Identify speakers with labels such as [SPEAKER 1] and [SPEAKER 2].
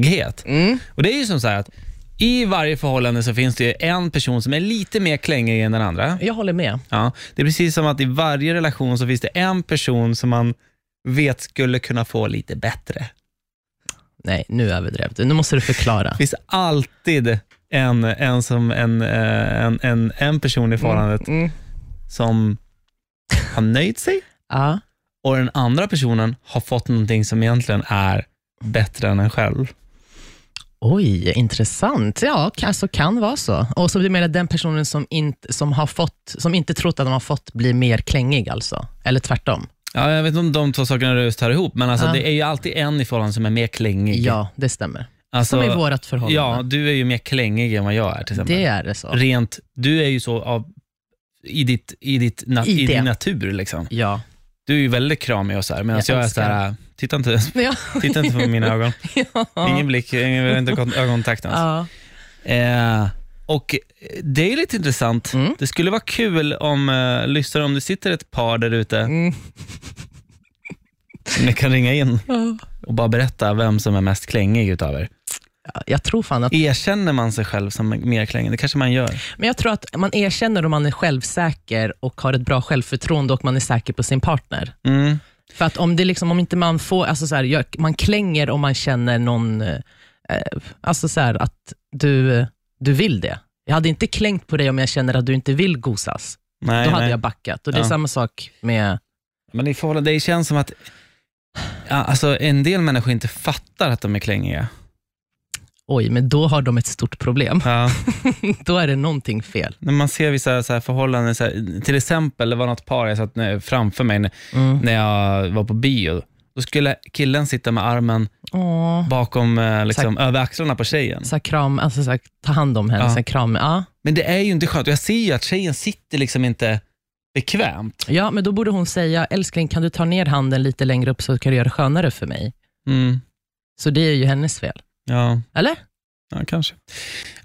[SPEAKER 1] personlighet.
[SPEAKER 2] Mm.
[SPEAKER 1] Och det är ju som så här att i varje förhållande så finns det ju en person som är lite mer klängig än den andra.
[SPEAKER 2] Jag håller med.
[SPEAKER 1] Ja, det är precis som att i varje relation så finns det en person som man vet skulle kunna få lite bättre.
[SPEAKER 2] Nej, nu överdrev du. Nu måste du förklara.
[SPEAKER 1] Det finns alltid en, en, som, en, eh, en, en, en person i förhållandet
[SPEAKER 2] Mm.
[SPEAKER 1] som har nöjt sig
[SPEAKER 2] Ja.
[SPEAKER 1] och den andra personen har fått någonting som egentligen är bättre än en själv.
[SPEAKER 2] Oj, intressant. Ja, k- alltså kan vara så. Och så blir det den personen som, inte som, har fått, som inte trott att de har fått blir mer klängig alltså. Eller tvärtom.
[SPEAKER 1] Ja, jag vet inte om de två sakerna just hör ihop, men alltså,
[SPEAKER 2] Ja.
[SPEAKER 1] det är ju alltid en i förhållandet som är mer klängig.
[SPEAKER 2] Ja, det stämmer.
[SPEAKER 1] alltså,
[SPEAKER 2] Som i vårt
[SPEAKER 1] Ja,
[SPEAKER 2] förhållande.
[SPEAKER 1] du är ju mer klängig än vad jag är till exempel.
[SPEAKER 2] det är det så.
[SPEAKER 1] Rent, du är ju så av, i, ditt, i, ditt na,
[SPEAKER 2] I
[SPEAKER 1] i,
[SPEAKER 2] det.
[SPEAKER 1] din natur. Liksom.
[SPEAKER 2] Ja.
[SPEAKER 1] Du är ju väldigt kramig och så här, medan
[SPEAKER 2] Jag
[SPEAKER 1] jag, är så
[SPEAKER 2] älskar
[SPEAKER 1] här, titta inte,
[SPEAKER 2] Ja.
[SPEAKER 1] titta inte på mina ögon. Ingen
[SPEAKER 2] ja.
[SPEAKER 1] blick, ingen, vi har inte kon- ögonkontakt ens.
[SPEAKER 2] ja.
[SPEAKER 1] Eh, och eh, det är lite intressant.
[SPEAKER 2] Mm.
[SPEAKER 1] Det skulle vara kul om, eh, lyssnare, om det sitter ett par där ute,
[SPEAKER 2] Mm.
[SPEAKER 1] ni kan ringa in
[SPEAKER 2] Ja.
[SPEAKER 1] och bara berätta vem som är mest klängig utav er.
[SPEAKER 2] Jag tror fan att
[SPEAKER 1] Erkänner man sig själv som mer klängig? Det kanske man gör.
[SPEAKER 2] Men jag tror att man erkänner om man är självsäker och har ett bra självförtroende och man är säker på sin partner.
[SPEAKER 1] Mm.
[SPEAKER 2] För att om det liksom, om inte man får, alltså så här, jag, man klänger om man känner någon, eh, alltså så här, att du, du vill det. Jag hade inte klängt på dig om jag känner att du inte vill gosas.
[SPEAKER 1] Nej,
[SPEAKER 2] Då hade
[SPEAKER 1] nej.
[SPEAKER 2] jag backat. Och det är
[SPEAKER 1] Ja.
[SPEAKER 2] samma sak med,
[SPEAKER 1] Men i förhållande, det känns som att ja, alltså, en del människor inte fattar att de är klängiga.
[SPEAKER 2] oj, men då har de ett stort problem.
[SPEAKER 1] Ja.
[SPEAKER 2] då är det någonting fel.
[SPEAKER 1] När man ser vissa så här förhållanden, så här, till exempel det var något par jag satt när- framför mig när-
[SPEAKER 2] Mm.
[SPEAKER 1] när jag var på bio. Då skulle killen sitta med armen
[SPEAKER 2] Åh,
[SPEAKER 1] bakom, eh, liksom, över axlarna på tjejen.
[SPEAKER 2] så här, kram, alltså så här, ta hand om henne,
[SPEAKER 1] Ja.
[SPEAKER 2] så här, kram. Ja.
[SPEAKER 1] Men det är ju inte skönt. Och Jag ser ju att tjejen sitter liksom inte bekvämt.
[SPEAKER 2] ja, men då borde hon säga, älskling kan du ta ner handen lite längre upp så kan du göra det skönare för mig.
[SPEAKER 1] Mm.
[SPEAKER 2] Så det är ju hennes fel.
[SPEAKER 1] Ja.
[SPEAKER 2] Eller?
[SPEAKER 1] ja, kanske. Ja,